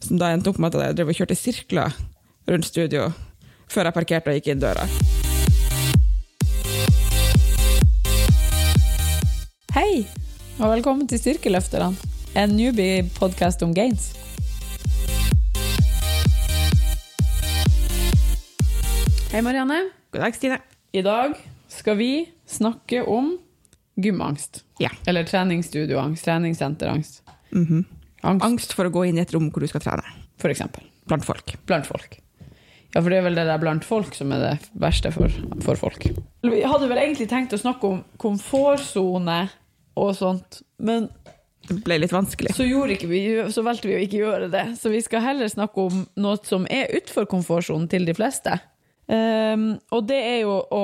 Som da endte opp med at jeg drev og kjørte sirkler rundt studio før jeg parkerte og gikk inn døra. Hei, og velkommen til Styrkeløfterne, en newbie-podkast om gains. Hei, Marianne. God dag, Stine. I dag skal vi snakke om gymangst. Ja. Eller treningsstudioangst, treningssenterangst. Mhm. Angst, Angst for å gå inn i et rom hvor du skal trene. for eksempel. Blant folk. Blant folk. Ja, for det er vel det der blant folk som er det verste for, for folk. Vi hadde vel egentlig tenkt å snakke om komfortsone og sånt, men Det ble litt vanskelig. så, gjorde ikke vi, så valgte vi å ikke gjøre det. Så vi skal heller snakke om noe som er utenfor komfortsonen til de fleste. Ehm, og det er jo å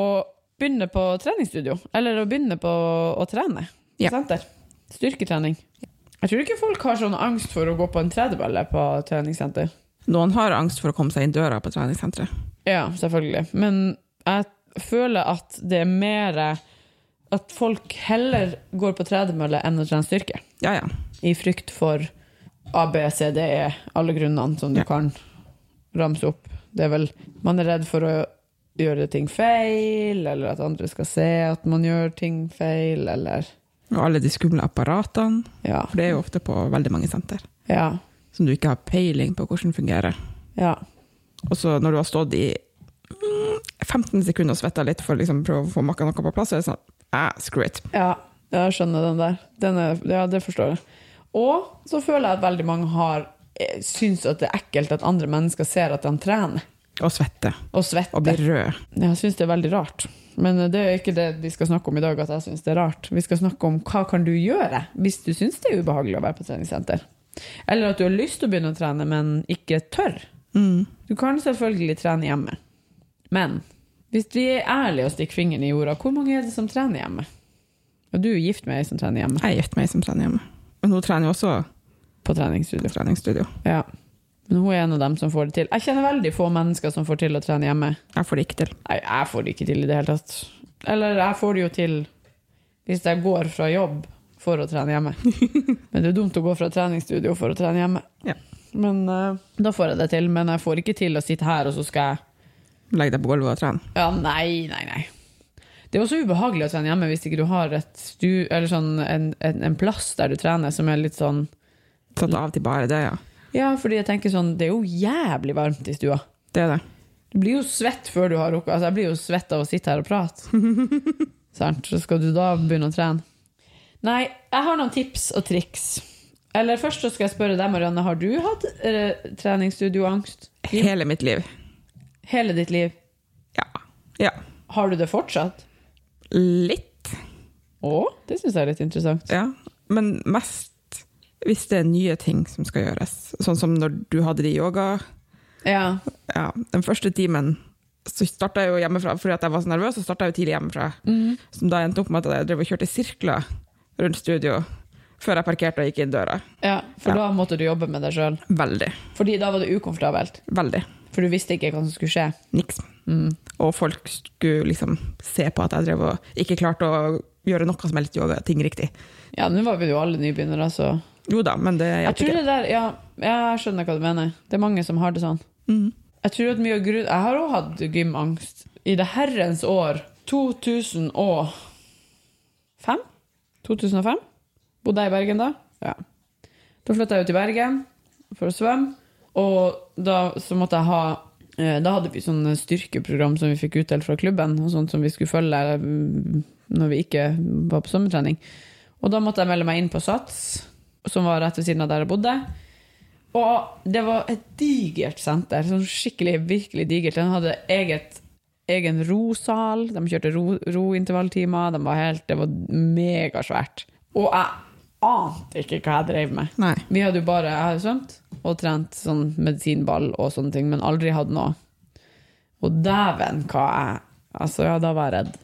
begynne på treningsstudio, eller å begynne på å trene. i Ja. Senter. Styrketrening. Jeg tror ikke folk har sånn angst for å gå på en tredemølle på treningssenter. Noen har angst for å komme seg inn døra på treningssenteret. Ja, selvfølgelig. Men jeg føler at det er mer at folk heller går på tredemølle enn å trene styrke. Ja, ja. i frykt for A, B, C, D, E, alle grunnene som du Ja. kan ramse opp. Det er vel Man er redd for å gjøre ting feil, eller at andre skal se at man gjør ting feil, eller Og alle de skumle apparatene. Ja. For det er jo ofte på veldig mange senter. Ja. Som du ikke har peiling på hvordan fungerer. Ja. Og så når du har stått i mm, 15 sekunder og svetta litt for liksom, å prøve å få makka noe på plass, så er det sånn ah, Screw it. Ja, jeg skjønner den der. Den er, ja, det forstår jeg. Og så føler jeg at veldig mange har eh, syns at det er ekkelt at andre mennesker ser at de trener Og svette. og svetter. Og bli rød. Jeg syns det er veldig rart. Men det er ikke det vi skal snakke om i dag. at jeg synes det er rart. Vi skal snakke om hva kan du gjøre hvis du syns det er ubehagelig å være på treningssenter. Eller at du har lyst til å begynne å trene, men ikke tør. Mm. Du kan selvfølgelig trene hjemme. Men hvis vi er ærlige og stikker fingeren i jorda, hvor mange er det som trener hjemme? Og du er jo gift med ei som trener hjemme Jeg er gift med ei som trener hjemme. Men hun trener jo også på i treningsstudio. treningsstudio. Ja. Men hun er en av dem som får det til. Jeg kjenner veldig få mennesker som får til å trene hjemme. Jeg får det ikke til. Nei, jeg får det ikke til i det hele tatt. Eller jeg får det jo til hvis jeg går fra jobb for å trene hjemme. Men det er dumt å gå fra treningsstudio for å trene hjemme. Ja. Men eh, da får jeg det til. Men jeg får ikke til å sitte her, og så skal jeg Legg deg på gulvet og tren. Ja, nei, nei, nei. Det er også ubehagelig å trene hjemme hvis ikke du har et stu, eller sånn, en, en, en plass der du trener som er litt sånn Satt av til bare det, ja. Ja, fordi jeg tenker sånn Det er jo jævlig varmt i stua. Det er det. Du blir jo svett før du har rukket Altså, jeg blir jo svett av å sitte her og prate. Sant? Så skal du da begynne å trene. Nei, jeg har noen tips og triks. Eller først så skal jeg spørre deg, Marianne, har du hatt eh, treningsstudioangst Hele mitt liv. hele ditt liv? Ja. Ja. Har du det fortsatt? Litt. Å, det syns jeg er litt interessant. Ja, men mest hvis det er nye ting som skal gjøres. Sånn som når du hadde de yoga. Ja. Ja, den første timen så starta jeg jo hjemmefra, fordi at jeg var så nervøs, så starta jeg jo tidlig hjemmefra. Mhm. Som da endte opp med at jeg drev og kjørte sirkler rundt studio før jeg parkerte og gikk inn døra. ja for Ja. da måtte du jobbe med deg sjøl. Veldig. Fordi da var det ukomfortabelt. Veldig. For du visste ikke hva som skulle skje. Niks. Mm. Og folk skulle liksom se på at jeg drev og ikke klarte å gjøre noe som helst yoga-ting riktig. Ja, nå var vi jo alle nybegynnere, så Jo da, men det Jeg hjalp tror ikke. det der, ja, jeg skjønner hva du mener. Det er mange som har det sånn. Mm. Jeg tror at mye av grunn... Jeg har også hatt gymangst i det herrens år 2005. 2005? Bodde jeg i Bergen da? Ja. Da flytta jeg jo til Bergen for å svømme, og da så måtte jeg ha eh, da hadde vi sånne styrkeprogram som vi fikk utdelt fra klubben, og sånt som vi skulle følge mm, når vi ikke var på sommertrening. Og da måtte jeg melde meg inn på Sats, som var rett ved siden av der jeg bodde. Og det var et digert senter, sånn skikkelig, virkelig digert. Den hadde eget, egen rosal, de kjørte ro, rointervalltimer, de var helt, det var megasvært. Og jeg ante ikke hva jeg drev med. Nei. Vi hadde jo bare jeg hadde svømt og trent sånn medisinball og sånne ting, men aldri hatt noe. Og dæven, hva jeg Altså, ja, da var jeg redd.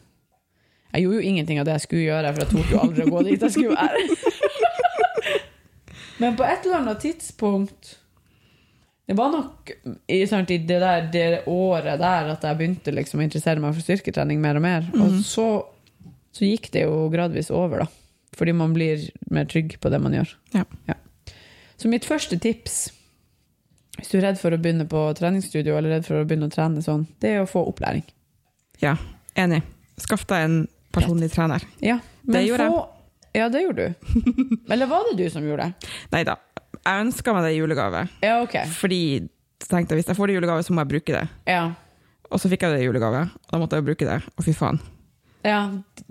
Jeg gjorde jo ingenting av det jeg skulle gjøre, for jeg torde jo aldri å gå dit jeg skulle være. men på et eller annet tidspunkt Det var nok i, sant, i det, der, det året der at jeg begynte liksom å interessere meg for styrketrening mer og mer. Og så, så gikk det jo gradvis over, da. Fordi man blir mer trygg på det man gjør. Ja. Så mitt første tips Hvis du er redd for å begynne på treningsstudio eller redd for å begynne å trene sånn, det er å få opplæring. Ja, enig. Skaff deg en personlig trener. Ja, Det gjorde få... Ja, det gjorde du. Eller var det du som gjorde det? Nei da, jeg ønska meg det i julegave, Ja, ok. fordi så tenkte jeg hvis jeg får det i julegave, så må jeg bruke det. Ja. Og så fikk jeg det i julegave, og da måtte jeg jo bruke det. Og fy faen, Ja,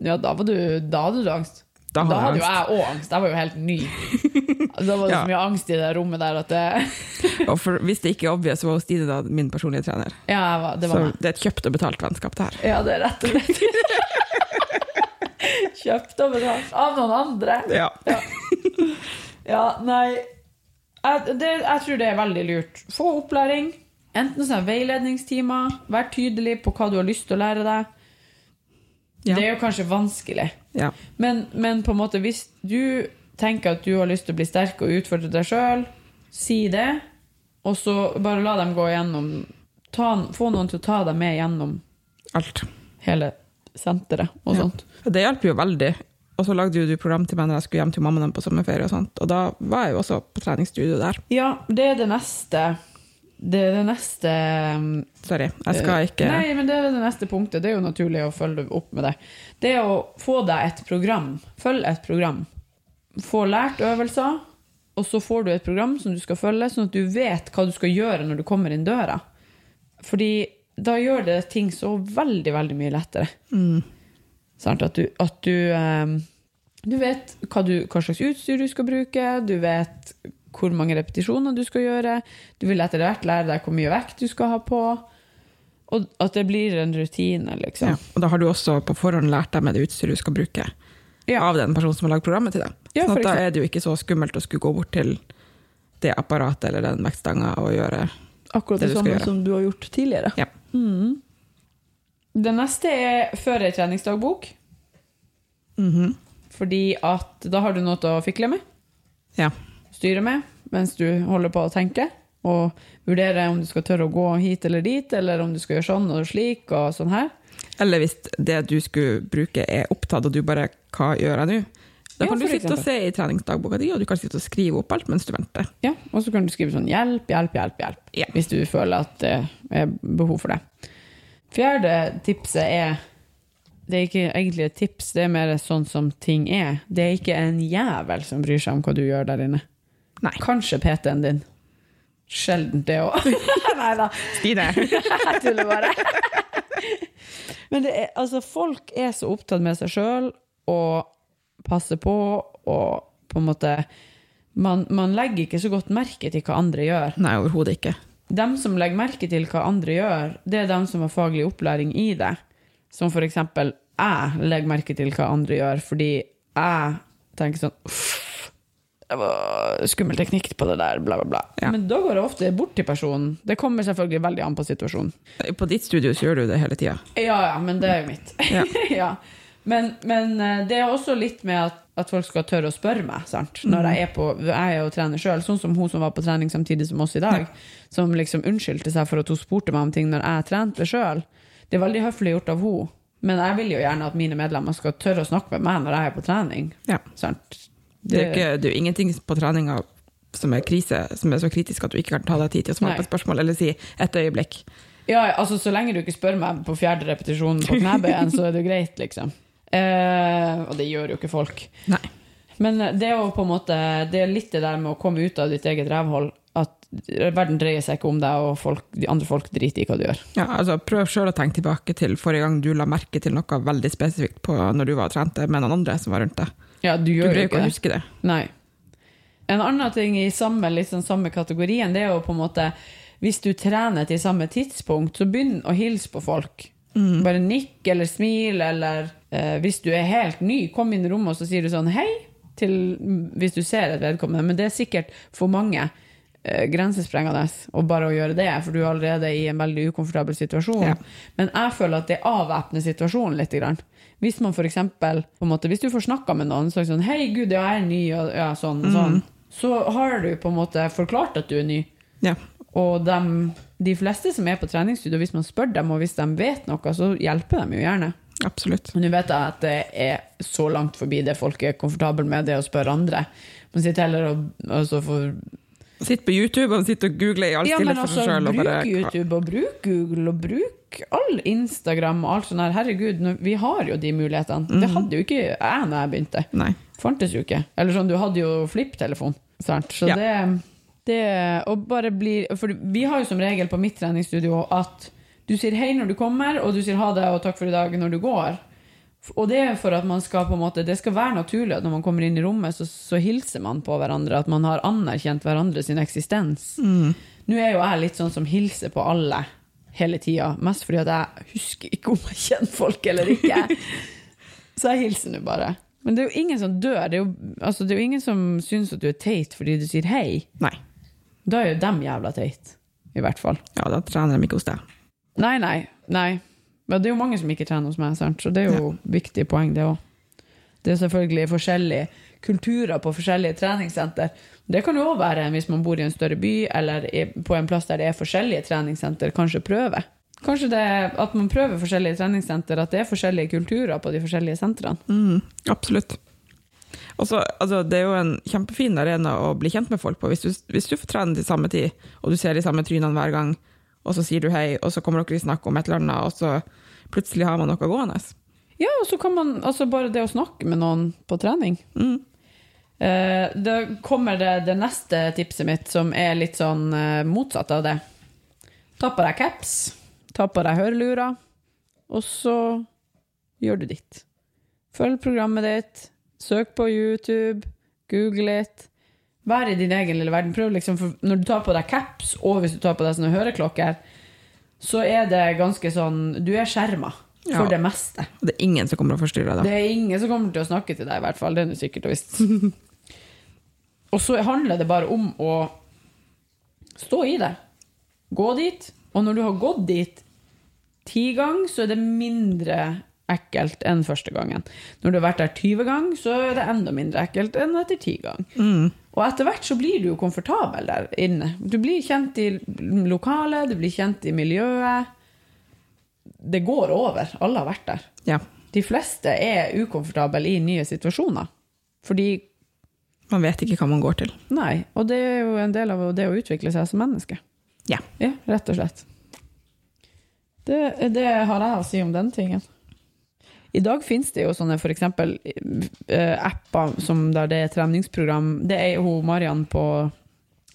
ja da, var du, da hadde du angst. da Da hadde jeg hadde jo jeg òg angst. Jeg var jo helt ny. Da var det Ja. så mye angst i det rommet der at det angst. Og for, hvis det ikke er obvious, så var Stine da min personlige trener. Ja, jeg var, det Så var meg. det er et kjøpt og betalt vennskap, det her. Ja, det er rett og slett. Kjøpt og betalt av noen andre. Ja. Ja, nei jeg, det, jeg tror det er veldig lurt. Få opplæring. Enten sånn veiledningstimer, vær tydelig på hva du har lyst til å lære deg. Ja. Det er jo kanskje vanskelig, ja. men, men på en måte hvis du tenker at du har lyst til å bli sterk og utfordre deg sjøl, si det, og så bare la dem gå gjennom ta, Få noen til å ta deg med gjennom Alt. hele senteret og Ja. sånt. Det hjalp jo veldig. Og så lagde jo du program til meg når jeg skulle hjem til mammaen på sommerferie, og sånt. Og da var jeg jo også på treningsstudio der. Ja, det er det neste Det er det neste um, Sorry, jeg skal ikke Eh, Nei, men det er det neste punktet. Det er jo naturlig å følge opp med det. Det er å få deg et program. Følg et program. Få lært øvelser, og så får du et program som du skal følge, sånn at du vet hva du skal gjøre når du kommer inn døra. Fordi da gjør det ting så veldig, veldig mye lettere. Mm, Sant? At du, at du, eh, du vet hva, du, hva slags utstyr du skal bruke, du vet hvor mange repetisjoner du skal gjøre, du vil etter hvert lære deg hvor mye vekt du skal ha på, og at det blir en rutine, ja. liksom. Og da har du også på forhånd lært deg med det utstyret du skal bruke, Ja. av den personen som har lagd programmet til deg. Ja, sånn for at da eksempel. er det jo ikke så skummelt å skulle gå bort til det apparatet eller den vektstanga og gjøre Akkurat det det du skal samme gjøre. som du har gjort tidligere. Ja. Det neste er før ei treningsdagbok, Mhm. fordi at da har du noe å fikle med. ja. styre med mens du holder på å tenke, og vurdere om du skal tørre å gå hit eller dit, eller om du skal gjøre sånn og slik og sånn her. Eller hvis det du skulle bruke er opptatt, og du bare Hva gjør jeg nå? Da Ja, kan du for sitte og eksempel. se i treningsdagboka di, og du kan sitte og skrive opp alt mens du venter. Ja, og så kan du skrive sånn hjelp, hjelp, hjelp, hjelp, Ja. hvis du føler at det er behov for det. Fjerde tipset er Det er ikke egentlig et tips, det er mer sånn som ting er. Det er ikke en jævel som bryr seg om hva du gjør der inne. Nei. Kanskje PT-en din. Sjelden det òg. Nei da. Stine! Jeg tuller bare. Men det er, altså, folk er så opptatt med seg sjøl og passer på og på en måte man, man legger ikke så godt merke til hva andre gjør. Nei, overhodet ikke. De som legger merke til hva andre gjør, det er de som har faglig opplæring i det. Som for eksempel jeg legger merke til hva andre gjør, fordi jeg tenker sånn Uff, det var skummel teknikk på det der, bla, bla, bla. Ja. Men da går det ofte bort til personen. Det kommer selvfølgelig veldig an på situasjonen. På ditt studio så gjør du det hele tida. Ja, ja, men det er jo mitt. Ja. Ja. Men, men eh, det er også litt med at, at folk skal tørre å spørre meg, sant? Mm. Når jeg er på, jeg er jo trener sjøl, sånn som hun som var på trening samtidig som oss i dag, som liksom unnskyldte seg for at hun spurte meg om ting når jeg trente sjøl. Det er veldig høflig gjort av hun, men jeg vil jo gjerne at mine medlemmer skal tørre å snakke med meg når jeg er på trening, Ja. sant? Det er jo ikke- det er jo ingenting på treninga som er krise, som er så kritisk at du ikke kan ta deg tid til å svare Nei. på et spørsmål eller si 'et øyeblikk'. Ja, altså så lenge du ikke spør meg på fjerde repetisjon på knebøyen, så er det jo greit, liksom. Eh, og det gjør jo ikke folk. Nei. Men det er jo på en måte Det er litt det der med å komme ut av ditt eget rævhold. At verden dreier seg ikke om deg, og folk, de andre folk driter i hva du gjør. Ja, altså, prøv sjøl å tenke tilbake til forrige gang du la merke til noe veldig spesifikt på når du var og trente med noen andre som var rundt deg. Ja, du Du gjør greier jo jo ikke å ikke det. huske det. Nei. En annen ting i samme, litt sånn samme kategorien, det er jo på en måte Hvis du trener til samme tidspunkt, så begynn å hilse på folk. Bare nikk eller smil, eller eh, hvis du er helt ny, kom inn i rommet og så sier du sånn hei, til, hvis du ser et vedkommende. Men det er sikkert for mange eh, grensesprengende å bare å gjøre det, for du er allerede i en veldig ukomfortabel situasjon. Ja. Men jeg føler at det avvæpner situasjonen litt. Grann. Hvis man for eksempel, på en måte, hvis du får snakka med noen, så er det sånn 'Hei, gud, ja, jeg er ny', og ja, sånn, og sånn, så har du på en måte forklart at du er ny. Ja. Og dem, de fleste som er på treningsstudio, hvis man spør dem, og hvis de vet noe, så hjelper de jo gjerne. Absolutt. Men Nå vet jeg at det er så langt forbi det folk er komfortable med, det å spørre andre. Man sitter heller og, og så får Sitter på YouTube og sitter og googler i all Ja, men stillhet for altså, seg sjøl. bruk og bare- YouTube og bruk Google og bruk all Instagram og alt sånt her. Herregud, nå- vi har jo de mulighetene. Det Mhm. hadde jo ikke jeg når jeg begynte. Nei. Fantes jo ikke. Eller sånn, du hadde jo flipptelefon. Sant? Så Ja. det, det å bare bli For vi har jo som regel på mitt treningsstudio at du sier hei når du kommer, og du sier ha det og takk for i dag når du går. Og det er for at man skal på en måte, det skal være naturlig at når man kommer inn i rommet, så, så hilser man på hverandre. At man har anerkjent hverandre sin eksistens. Mm. Nå er jo jeg litt sånn som hilser på alle hele tida. Mest fordi at jeg husker ikke om jeg kjenner folk eller ikke. Så jeg hilser nå bare. Men det er jo ingen som dør. Det er jo, altså, det er jo ingen som syns at du er teit fordi du sier hei. Nei. Da er jo dem jævla teit. I hvert fall. Ja, da trener de ikke hos deg. Nei, nei. nei. Men det er jo mange som ikke trener hos meg, sant? så det er jo viktig poeng, det òg. Det er selvfølgelig forskjellige kulturer på forskjellige treningssenter. Det kan jo òg være hvis man bor i en større by eller i- på en plass der det er forskjellige treningssenter, kanskje prøve. Kanskje det er at man prøver forskjellige treningssenter, at det er forskjellige kulturer på de forskjellige sentrene. Mm, absolutt. Og så, altså, det er jo en kjempefin arena å bli kjent med folk på. Hvis du, hvis du får trene til samme tid, og du ser de samme trynene hver gang, og så sier du hei, og så kommer dere i snakk om et eller annet, og så plutselig har man noe gående. Ja, og så kan man altså bare det å snakke med noen på trening. Mm. Eh, da kommer det, det neste tipset mitt, som er litt sånn eh, motsatt av det. Ta på deg caps, ta på deg hørelurer, og så gjør du ditt. Følg programmet ditt, søk på YouTube, google litt. Vær i din egen lille verden. Prøv liksom, for når du tar på deg caps, og hvis du tar på deg sånne høreklokker, så er det ganske sånn Du er skjerma for Ja. det meste. Og det er ingen som kommer og forstyrrer deg. Det er ingen som kommer til å snakke til deg, i hvert fall. Det er nå sikkert og visst. og så handler det bare om å stå i det. Gå dit. Og når du har gått dit ti ganger, så er det mindre ekkelt enn første gangen. Når du har vært der 20 ganger, så er det enda mindre ekkelt enn etter ti ganger. Og etter hvert så blir du jo komfortabel der inne. Du blir kjent i lokalet, du blir kjent i miljøet. Det går over. Alle har vært der. Ja, De fleste er ukomfortable i nye situasjoner. Fordi Man vet ikke hva man går til. Nei. Og det er jo en del av det å utvikle seg som menneske. Ja. Ja, rett og slett. Det, det har jeg å si om den tingen. I dag finnes det jo sånne for eksempel eh, apper som der det er treningsprogram. Det er jo hun Mariann på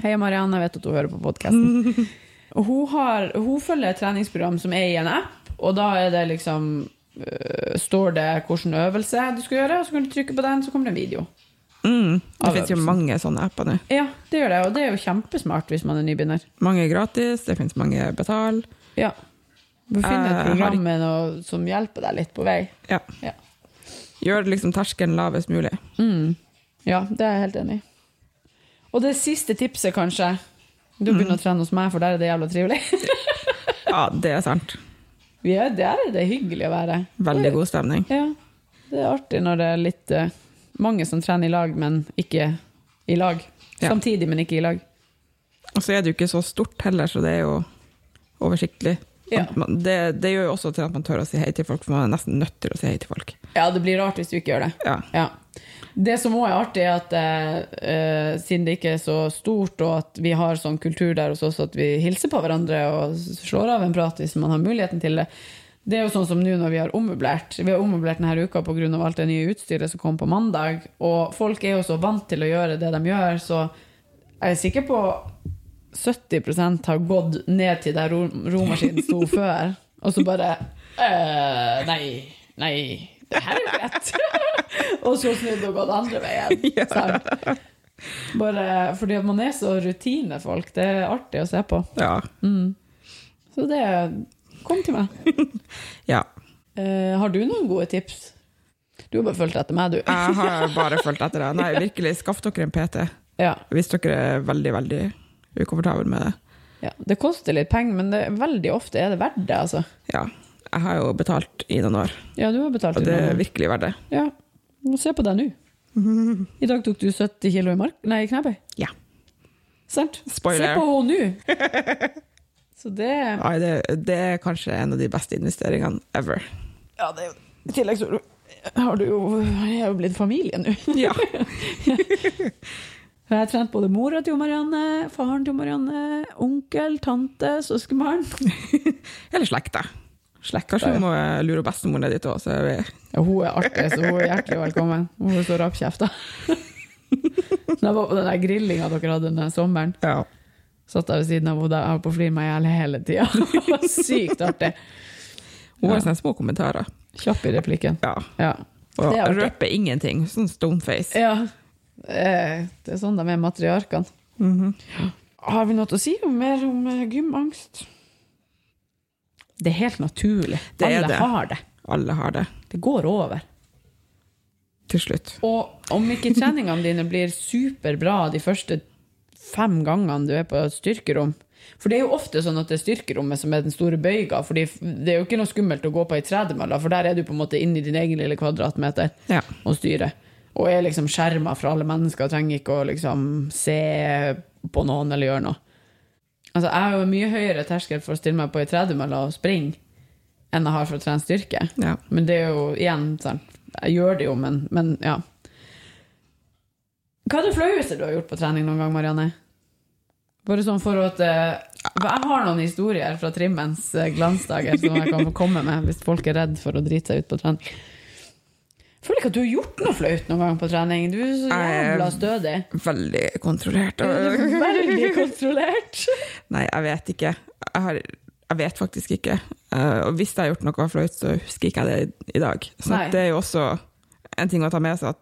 Hei, Mariann, jeg vet at hun hører på podkasten. Hun, har- hun følger et treningsprogram som er i en app, og da er det liksom eh, Står det hvilken øvelse du skal gjøre, og så kan du trykke på den, så kommer det en video. Mm, det Av finnes jo øvelsen. mange sånne apper nå. Ja, det gjør det, og det er jo kjempesmart hvis man er nybegynner. Mange er gratis, det finnes mange betal. Ja. Du Jeg finner Eh, har et program med noe som hjelper deg litt på vei. Ja. Ja. Gjør liksom terskelen lavest mulig. Ja, det er jeg helt enig i. Og det siste tipset, kanskje. Du begynner Mm. å trene hos meg, for der er det jævla trivelig. Ja, det er sant. Vi er, der er det hyggelig å være. Veldig god stemning. Ja, det er artig når det er litt eh, mange som trener i lag, men ikke i lag. Ja. Samtidig, men ikke i lag. Og så er det jo ikke så stort heller, så det er jo oversiktlig. Ja. Man- Det, det gjør jo også til at man tør å si hei til folk, for man er nesten nødt til å si hei til folk. Ja, det blir rart hvis du ikke gjør det. Ja. Ja. Det som òg er artig, er at eh, eh, siden det ikke er så stort, og at vi har sånn kultur der hos oss at vi hilser på hverandre og s- slår av en prat hvis man har muligheten til det, det er jo sånn som nå når vi har ommøblert. Vi har ommøblert denne uka pga. alt det nye utstyret som kom på mandag, og folk er jo så vant til å gjøre det de gjør, så jeg er sikker på 70 har gått ned til der ro- romaskinen sto før, og så bare «Øh, Nei, nei, det her er jo greit. og så snudd og gått andre veien. sant? Bare fordi at man er så rutinefolk. Det er artig å se på. Ja. Så det Kom til meg. ja. Eh, har du noen gode tips? Du har bare fulgt etter meg, du. Jeg har bare fulgt etter det. Nei, virkelig, skaff dere en PT Ja, hvis dere er veldig, veldig ukomfortable med det. ja. Det koster litt penger, men det, veldig ofte er det verdt det, altså. Ja. Jeg har jo betalt i noen år, Ja, du har betalt og i det noen er år. virkelig verdt det. Ja, må se på deg nå. I dag tok du 70 kilo i mark... Nei, i knebøy. Ja. Sant? Se Spoiler. på henne nå! Så det Nei, det, det er kanskje en av de beste investeringene ever. Ja, det er jo I tillegg så har du jo Jeg er jo blitt familie nå. Ja. Og jeg har trent både mora til Marianne, faren til Marianne, onkel, tante, søskenbarn. Eller slekta. Slekt, kanskje vi må eh, lure bestemoren ned dit òg, så er vi Ja, hun er artig, så hun er hjertelig velkommen. Hun er så rappkjefta. Da jeg var på den der grillinga dere hadde denne sommeren, Ja. satt jeg ved siden av henne og holdt på å flire meg i hjel hele tida. Det var Sykt artig. Hun har Ja. sånne små kommentarer. Kjapp i replikken. Ja. Ja. Og Det er artig. røper ingenting. Sånn stoneface. ja. Eh, Det er sånn de er matriarkene. Mhm. Har vi noe å si om mer om eh, gymangst? Det er helt naturlig. Det er Alle det. har det. Alle har det Det går over. til slutt. Og om ikke treningene dine blir superbra de første fem gangene du er på et styrkerom For det er jo ofte sånn at det er styrkerommet som er den store bøyga. For det er jo ikke noe skummelt å gå på ei tredemølle, for der er du på en måte inni din egen lille kvadratmeter Ja. og styrer. Og er liksom skjerma fra alle mennesker og trenger ikke å liksom se på noen eller gjøre noe. Altså, jeg har jo en mye høyere terskel for å stille meg på ei tredemølle og springe enn jeg har for å trene styrke. Ja. Men det er jo igjen sånn Jeg gjør det jo, men, men ja. Hva er det flaueste du har gjort på trening noen gang, Marianne? Bare sånn for at eh, for Jeg har noen historier fra trimmens eh, glansdager som jeg kan få komme med hvis folk er redd for å drite seg ut på trening. Jeg føler ikke at du har gjort noe flaut noen gang på trening. Du er så Jeg- jævla stødig. Veldig kontrollert. Det er sånn. Veldig kontrollert. Nei, jeg vet ikke. Jeg, har, jeg vet faktisk ikke. Eh, og hvis jeg har gjort noe flaut, så husker ikke jeg det i- i dag. Så Nei. at det er jo også en ting å ta med seg, at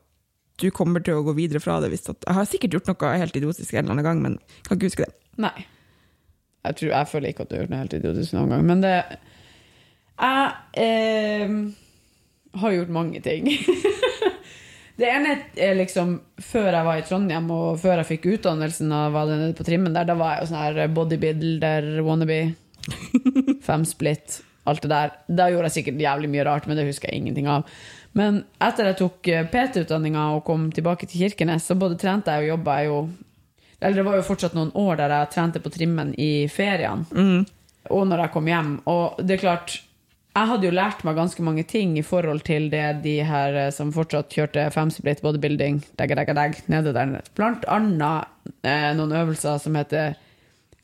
du kommer til å gå videre fra det. Hvis at, jeg har sikkert gjort noe helt idiotisk en eller annen gang, men kan ikke huske det. Nei. Jeg, tror, jeg føler ikke at du har gjort noe helt idiotisk noen gang, men det Jeg eh, har gjort mange ting. det ene er liksom Før jeg var i Trondheim, og før jeg fikk utdannelsen og var nede på trimmen der, da var jeg jo sånn her bodybuilder, wannabe, femsplit, alt det der. Da gjorde jeg sikkert jævlig mye rart, men det husker jeg ingenting av. Men etter jeg tok eh, PT-utdanninga og kom tilbake til Kirkenes, så både trente jeg og jobba jeg jo eller det var jo fortsatt noen år der jeg trente på trimmen i ferien. Og når jeg kom hjem. Og det er klart, jeg hadde jo lært meg ganske mange ting i forhold til det de her eh, som fortsatt kjørte femsplit bodybuilding deg, deg, deg, nede der. nede. Blant annet eh, noen øvelser som heter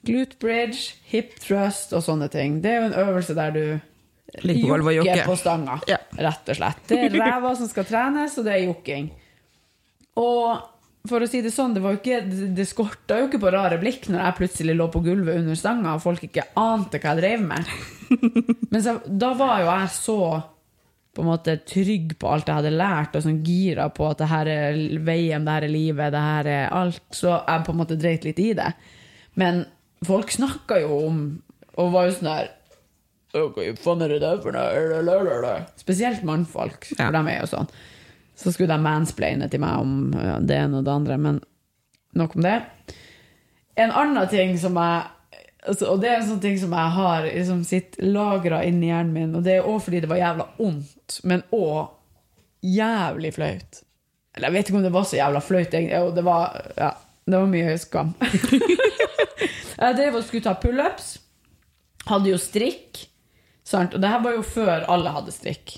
glute bridge, hip thrust og sånne ting. Det er jo en øvelse der du Ligger på gulvet og jokker. på stanga, Ja. rett og slett. Det er ræva som skal trenes, og det er jokking. Og for å si det sånn, det, var jo ikke, det, det skorta jo ikke på rare blikk når jeg plutselig lå på gulvet under stanga og folk ikke ante hva jeg drev med. Men så, da var jo jeg så på en måte trygg på alt jeg hadde lært, og sånn gira på at det her er veien, det her er livet, det her er alt. Så jeg på en måte dreit litt i det. Men folk snakka jo om, og var jo sånn der «Åh, Hva faen er det der for noe? Lalalala. Spesielt mannfolk, for Ja. de er jo sånn. Så skulle de mansplaine til meg om ja, det ene og det andre, men nok om det. En annen ting som jeg altså, Og det er en sånn ting som jeg har liksom, sitt lagra inni hjernen min, og det er òg fordi det var jævla ondt, men òg jævlig flaut. Eller jeg vet ikke om det var så jævla flaut, egentlig. Jo, det var, ja, det var mye skam. jeg drev og skulle ta pullups. Hadde jo strikk. Sant? Og det her var jo før alle hadde strikk.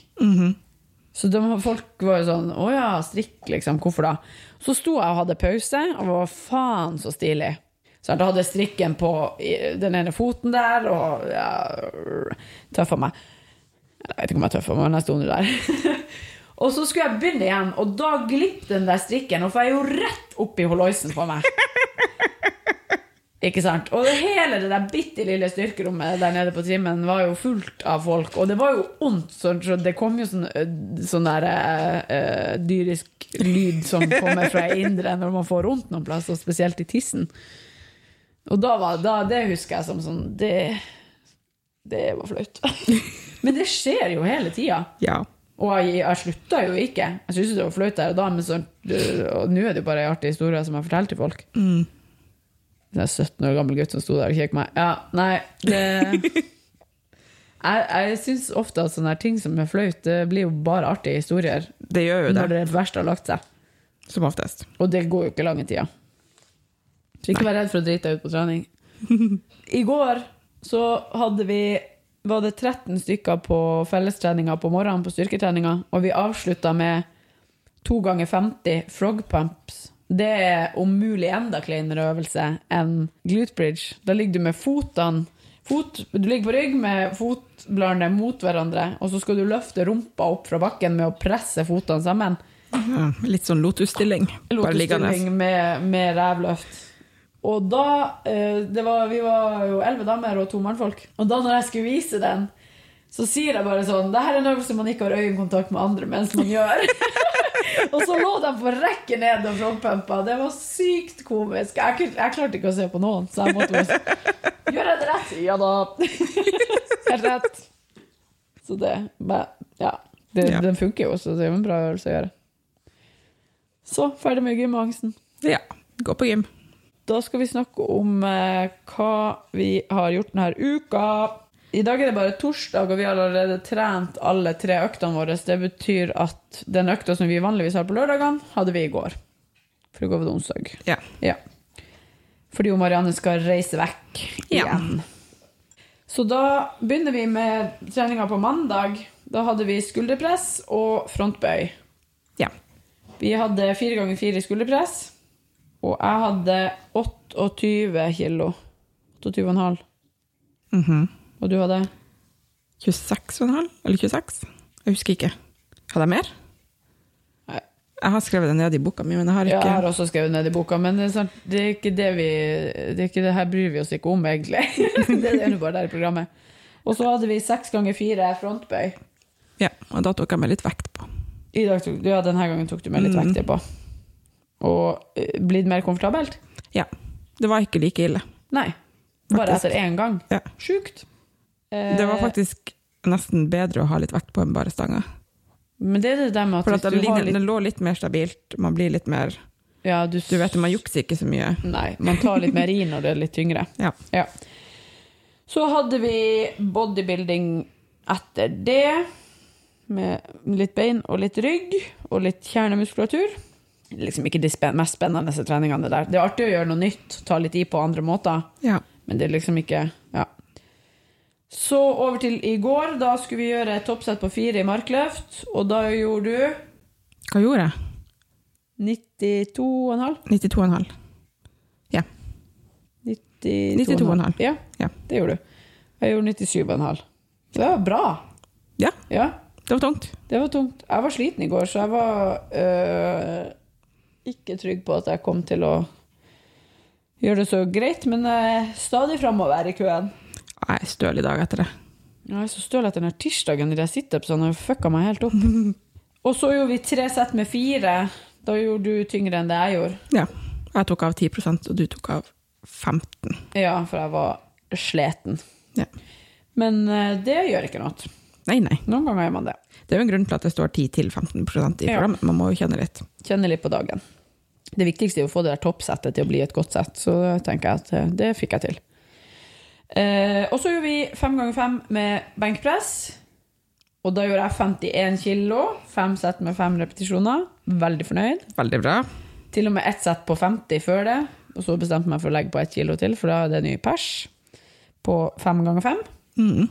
Så de, folk var jo sånn Å ja, strikk, liksom. Hvorfor da? Så sto jeg og hadde pause, og var faen så stilig. Så jeg hadde strikken på i- den ene foten der, og ja, tøffa meg. Jeg vet ikke om jeg tøffa meg, men jeg sto nå der. og så skulle jeg begynne igjen, og da glipp den der strikken, og får jeg jo rett opp i holoisen på meg. Ikke sant? Og det hele det der bitte lille styrkerommet der nede på trimmen var jo fullt av folk, og det var jo ondt, så så det kom jo sånn, øh, sånn der øh, øh, dyrisk lyd som kommer fra indre når man får vondt noen plass, og spesielt i tissen. Og da var, da, det husker jeg som sånn Det, det var flaut. Men det skjer jo hele tida. Ja. Og jeg, jeg slutta jo ikke. Jeg syntes jo det var flaut der og da, men så, øh, og nå er det jo bare en artig historie som jeg forteller til folk. Mm. Det er 17 år gammel gutt som sto der og kjekk meg. Ja, nei, det... Jeg, jeg syns ofte at sånne her ting som er flaut, det blir jo bare artige historier Det gjør jo når det, det verste har lagt seg. som oftest. Og det går jo ikke lange tida. Så ikke vær redd for å drite deg ut på trening. I går så hadde vi var det 13 stykker på fellestreninga på morgenen på styrketreninga, og vi avslutta med to ganger 50 frog pumps Det er om mulig enda kleinere øvelse enn glute bridge. Da ligger du med fotene fot, Du ligger på rygg med fotbladene mot hverandre, og så skal du løfte rumpa opp fra bakken med å presse fotene sammen. Ja, litt sånn lotusstilling. Bare liggende. Lotusstilling med, med revløft. Og da eh, det var, Vi var jo elleve damer og to mannfolk. Og da når jeg skulle vise den, så sier jeg bare sånn Det her er en øvelse man ikke har øyekontakt med andre mens man gjør. og så lå de på rekke ned og frontpumpa. Det var sykt komisk. Jeg, kunne- jeg klarte ikke å se på noen, så jeg måtte bare sånn, Gjør jeg det rett? Ja da. Helt rett. Så det men, Ja. Det, Ja. Den funker jo, så det er jo en bra øvelse å gjøre. Så, ferdig med gymangsten. Ja. Gå på gym. Da skal vi snakke om eh, hva vi har gjort denne uka. I dag er det bare torsdag, og vi har allerede trent alle tre øktene våre. Det betyr at den økta som vi vanligvis har på lørdagene, hadde vi i går. For i går var det onsdag. Ja. Ja. Fordi jo Marianne skal reise vekk Ja. igjen. Så da begynner vi med treninga på mandag. Da hadde vi skulderpress og frontbøy. ja. Vi hadde fire ganger fire skulderpress, og jeg hadde 28 kilo. 28,5. Mhm. Og du hadde 26,5? Eller 26? Jeg husker ikke. Hadde jeg mer? Nei. Jeg har skrevet det ned i boka mi, men jeg har Ja, ikke jeg har også skrevet ned i boka, men det er, sant, det er ikke det vi Det er ikke det her bryr vi oss ikke om, egentlig. det er jo bare der i programmet. Og så hadde vi seks ganger fire frontbøy. Ja, og da tok jeg meg litt vekt på. I dag tok, ja, denne gangen tok du med litt Mm. vekter på. Og eh, blitt mer komfortabelt? Ja. Det var ikke like ille. Nei. Bare Faktisk. etter én gang. Ja. Sjukt. Eh, Det var faktisk nesten bedre å ha litt vekt på enn bare stanga. Eh, Men det er det der med at For hvis at den, du har ligner, litt den lå litt mer stabilt. Man blir litt mer Ja, du, Du vet, man jukser ikke så mye. Nei, man tar litt mer i når det er litt tyngre. Ja. Ja. Så hadde vi bodybuilding etter det, med litt bein og litt rygg og litt kjernemuskulatur. Liksom ikke de spen- mest spennende treningene der. Det er artig å gjøre noe nytt, ta litt i på andre måter, ja. men det er liksom ikke Ja. Så over til i går. Da skulle vi gjøre et toppsett på fire i markløft, og da gjorde du Hva gjorde jeg? 92,5? 92,5. 92,5. Ja, Ja. det gjorde du. Jeg gjorde 97,5. Det var bra. Ja. Ja, Det var tungt. det var tungt. Jeg var sliten i går, så jeg var øh, ikke trygg på at jeg kom til å gjøre det så greit, men øh, stadig framover i køen. Jeg er støl i dag etter det. Ja, Jeg er så støl etter den her tirsdagen i de situpsene har fucka meg helt opp. Og så gjorde vi tre sett med fire. Da gjorde du tyngre enn det jeg gjorde. Ja. Jeg tok av 10 og du tok av 15 Ja, for jeg var sliten. Ja. Men øh, det gjør ikke noe. Nei, nei. Noen ganger gjør man det. Det er jo en grunn til at det står 10-15 i Ja. programmet. Man må jo kjenne litt. kjenne litt på dagen. Det viktigste er jo å få det der toppsettet til å bli et godt sett, så tenker jeg at eh, det fikk jeg til. Eh, og så gjorde vi fem ganger fem med benkpress. Og da gjorde jeg 51 kilo, fem sett med fem repetisjoner. Veldig fornøyd. Veldig bra. Til og med ett sett på 50 før det, og så bestemte jeg meg for å legge på ett kilo til, for da er det ny pers på fem ganger fem. Mm.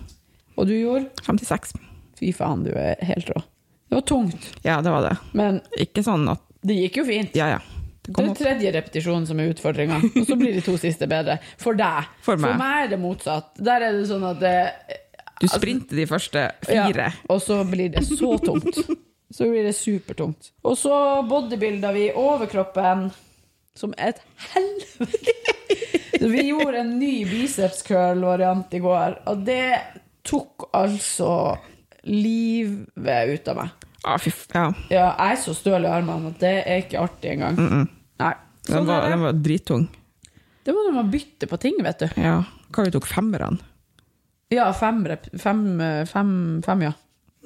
Og du gjorde 56. Fy faen, du er helt rå. Det var tungt, Ja, det var det. men Ikke sånn at det gikk jo fint. Ja, ja. Det Det kom er opp. tredje repetisjonen som er utfordringa, og så blir de to siste bedre. For deg. For meg. er det motsatt. Der er det sånn at det Du sprinter de første fire. altså Ja, og så blir det så tungt. Så blir det supertungt. Og så bodybuilda vi overkroppen som et helvete. Så Vi gjorde en ny biceps curl-variant i går, og det tok altså livet ut av meg. Ah, fy f ja. Ja, jeg er så støl i armene at det er ikke artig engang. Nei. Den, Sånn var, er det. den var drittung. Det var når man bytter på ting, vet du. Ja. Hva vi tok femmerne? Ja, fem, rep- fem, eh, fem, fem ja.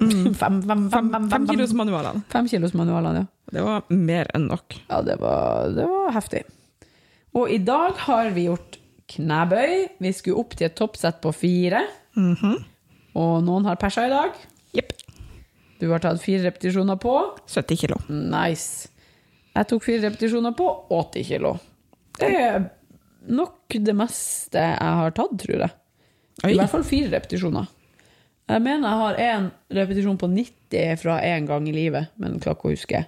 Fem, fem, Mm. fem, fem, fem, fem, fem, Femkilosmanualene. kilos manualene, ja. Det var mer enn nok. Ja, det var, det var heftig. Og i dag har vi gjort knebøy. Vi skulle opp til et toppsett på fire. Og noen har persa i dag. Mhm. Jepp. Du har tatt fire repetisjoner på. 70 kilo. Nice. Jeg tok fire repetisjoner på 80 kilo. Det er nok det meste jeg har tatt, tror jeg. Oi. I hvert fall fire repetisjoner. Jeg mener jeg har én repetisjon på 90 fra én gang i livet, men klarer ikke å huske.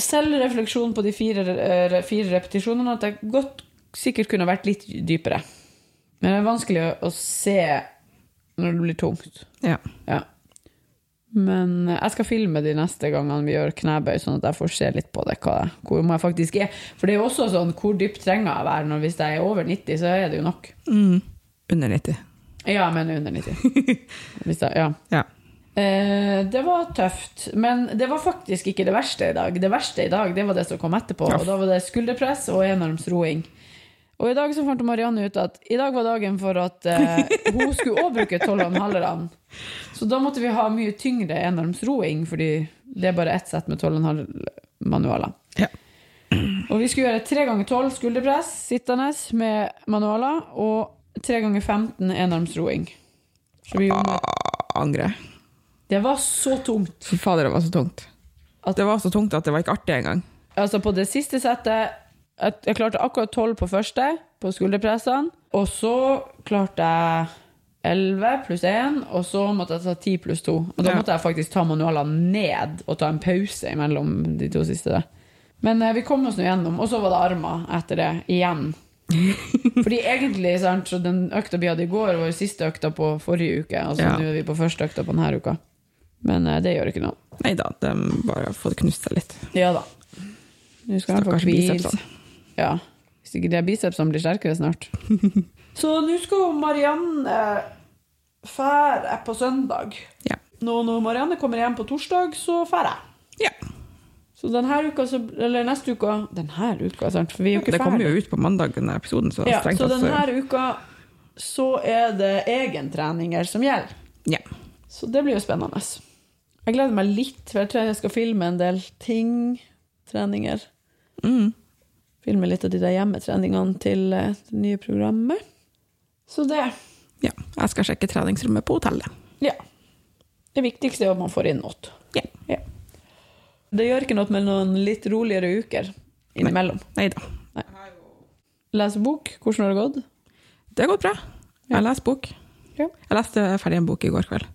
selv refleksjon på de fire, eh, fire repetisjonene at jeg godt sikkert kunne vært litt dypere. Men det er vanskelig å- å se når det blir tungt. Ja. Ja. Men eh, jeg skal filme de neste gangene vi gjør knebøy, sånn at jeg får se litt på det, hva, hvor må jeg faktisk er. For det er jo også sånn, hvor dypt trenger jeg være? Når, hvis jeg er over 90, så er det jo nok. Mm. Under 90. Ja, men under 90. Hvis jeg, ja. Ja. Eh, det var tøft, men det var faktisk ikke det verste i dag. Det verste i dag det var det som kom etterpå, Ja. og da var det skulderpress og enarmsroing. Og i dag så fant Marianne ut at i dag var dagen for at eh, hun skulle òg bruke tolvanhalerne. Så da måtte vi ha mye tyngre enarmsroing, fordi det er bare ett sett med tolvanhalmanualer. Ja. Og vi skulle gjøre tre ganger tolv skulderpress sittende med manualer, og tre ganger 15 enarmsroing. Så vi gjorde Angre. Det var så tungt. Fy fader, det var så tungt. At- det var så tungt at det var ikke artig engang. Altså på det siste settet Jeg, jeg klarte akkurat 12 på første På skulderpressene Og så klarte jeg 11 pluss 1 Og så måtte jeg ta 10 pluss 2 Og da Ja. måtte jeg faktisk ta manualene ned Og ta en pause imellom de to siste der. Men eh, vi kom oss nå gjennom Og så var det armer etter det, igjen Fordi egentlig, sant Så den økta vi hadde i går var jo siste økta på forrige uke Altså Ja. nå er vi på første økta på denne uka Men eh, det gjør ikke noe Nei da, de bare får knust seg litt. ja da. Nå skal han få Stakkars hvilt. bicepsene. Ja. Hvis ikke de bicepsene blir sterkere snart. Så nå skal Marianne eh, fære på søndag. Ja. Nå når Marianne kommer hjem på torsdag, så fære jeg. ja. Så denne uka, så, eller neste uka Denne uka, sant? For vi er jo ikke Det kommer jo ferdig. ut på mandag, denne episoden, så Ja, strengt så tatt så denne uka så er det egentreninger som gjelder. ja. Så det blir jo spennende. Jeg gleder meg litt, for jeg tror jeg skal filme en del ting. Treninger. Mm. filme litt av de der hjemmetreningene til eh, det nye programmet. Så det ja. Jeg skal sjekke treningsrommet på hotellet. Ja. Det viktigste er at man får inn noe. Ja. Ja. Det gjør ikke noe med noen litt roligere uker innimellom. Nei da. Lese bok. Hvordan har det gått? Det har gått bra. Jeg leser bok. Ja. Jeg leste ferdig en bok i går kveld.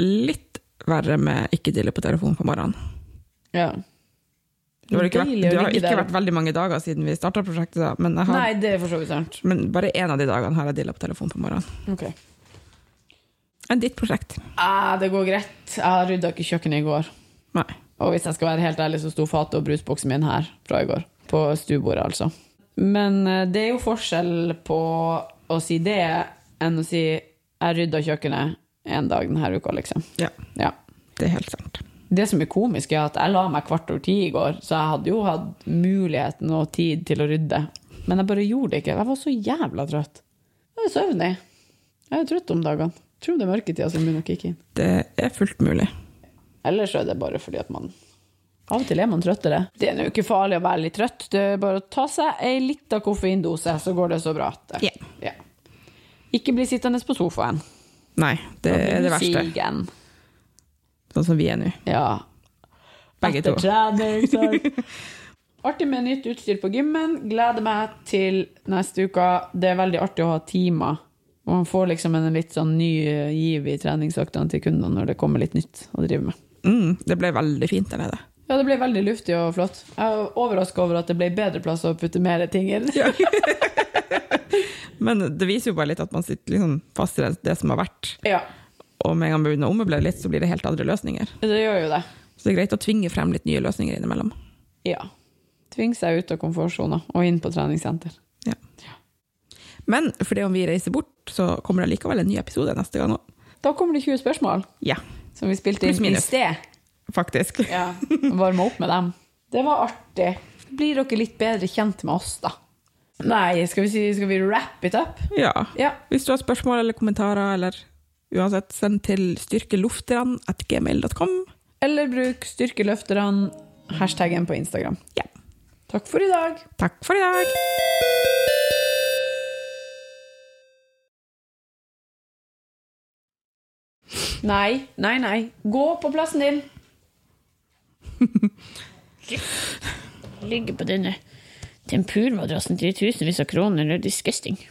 Litt verre med ikke dille på telefonen på morgenen. Ja. Det har ikke, vært, Deilig å det har ligge ikke der. vært veldig mange dager siden vi starta prosjektet, da, men, jeg har, Nei, det er for så vidt sant. men bare én av de dagene har jeg dilla på telefonen på morgenen. Ok. Enn ditt prosjekt. Ah, det går greit. Jeg rydda ikke kjøkkenet i går. Nei. Og hvis jeg skal være helt ærlig, så sto fatet og brusboksen min her fra i går. På stuebordet, altså. Men eh, det er jo forskjell på å si det enn å si 'jeg rydda kjøkkenet en dag denne uka', liksom. Ja, Ja. det er helt sant. Det som er komisk, er at jeg la meg kvart over ti i går, så jeg hadde jo hatt muligheten og tid til å rydde. Men jeg bare gjorde det ikke. Jeg var så jævla trøtt. Jeg er søvnig. Jeg er trøtt om dagene. Tror det er mørketida som begynner å kicke inn. Det er fullt mulig. Ellers er det bare fordi at man Av og til er man trøttere. Det er jo ikke farlig å være litt trøtt. Det er bare å ta seg ei lita koffeindose, så går det så bra. at det- Ja. Ikke bli sittende på sofaen. Nei, det Da blir er det du verste. Sigen. Sånn som vi er nå. Ja. Begge Etter to. trening, sant? Artig med nytt utstyr på gymmen. Gleder meg til neste uke. Det er veldig artig å ha timer. Og man får liksom en litt sånn ny eh, giv i treningsøktene til kundene når det kommer litt nytt å drive med. Mm, det ble veldig fint der nede. Ja, det ble veldig luftig og flott. Jeg er overraska over at det ble bedre plass å putte mer ting inn. Men det viser jo bare litt at man sitter liksom fast i det, det som har vært. Ja, Og med en gang man begynner å ommøblere litt, så blir det helt andre løsninger. det gjør jo det. Så det er greit å tvinge frem litt nye løsninger innimellom. Ja. Tvinge seg ut av komfortsona og inn på treningssenter. Men fordi om vi reiser bort, så kommer det likevel en ny episode neste gang òg. Da kommer det 20 spørsmål Ja, som vi spilte Pluss inn i minus. sted. faktisk. Ja. Varme opp med dem. Det var artig. Blir dere litt bedre kjent med oss, da? Nei, skal vi, si, skal vi wrap it up? Ja. Ja. Hvis du har spørsmål eller kommentarer, eller uansett, send til styrkelufterne at gmail.com. Eller bruk styrkeløfterne, hashtaggen på Instagram. Ja. Takk for i dag. Takk for i dag! Nei, nei, nei. Gå på plassen din. ligger på denne tempurmadrassen til tusenvis av kroner. Det er disgusting.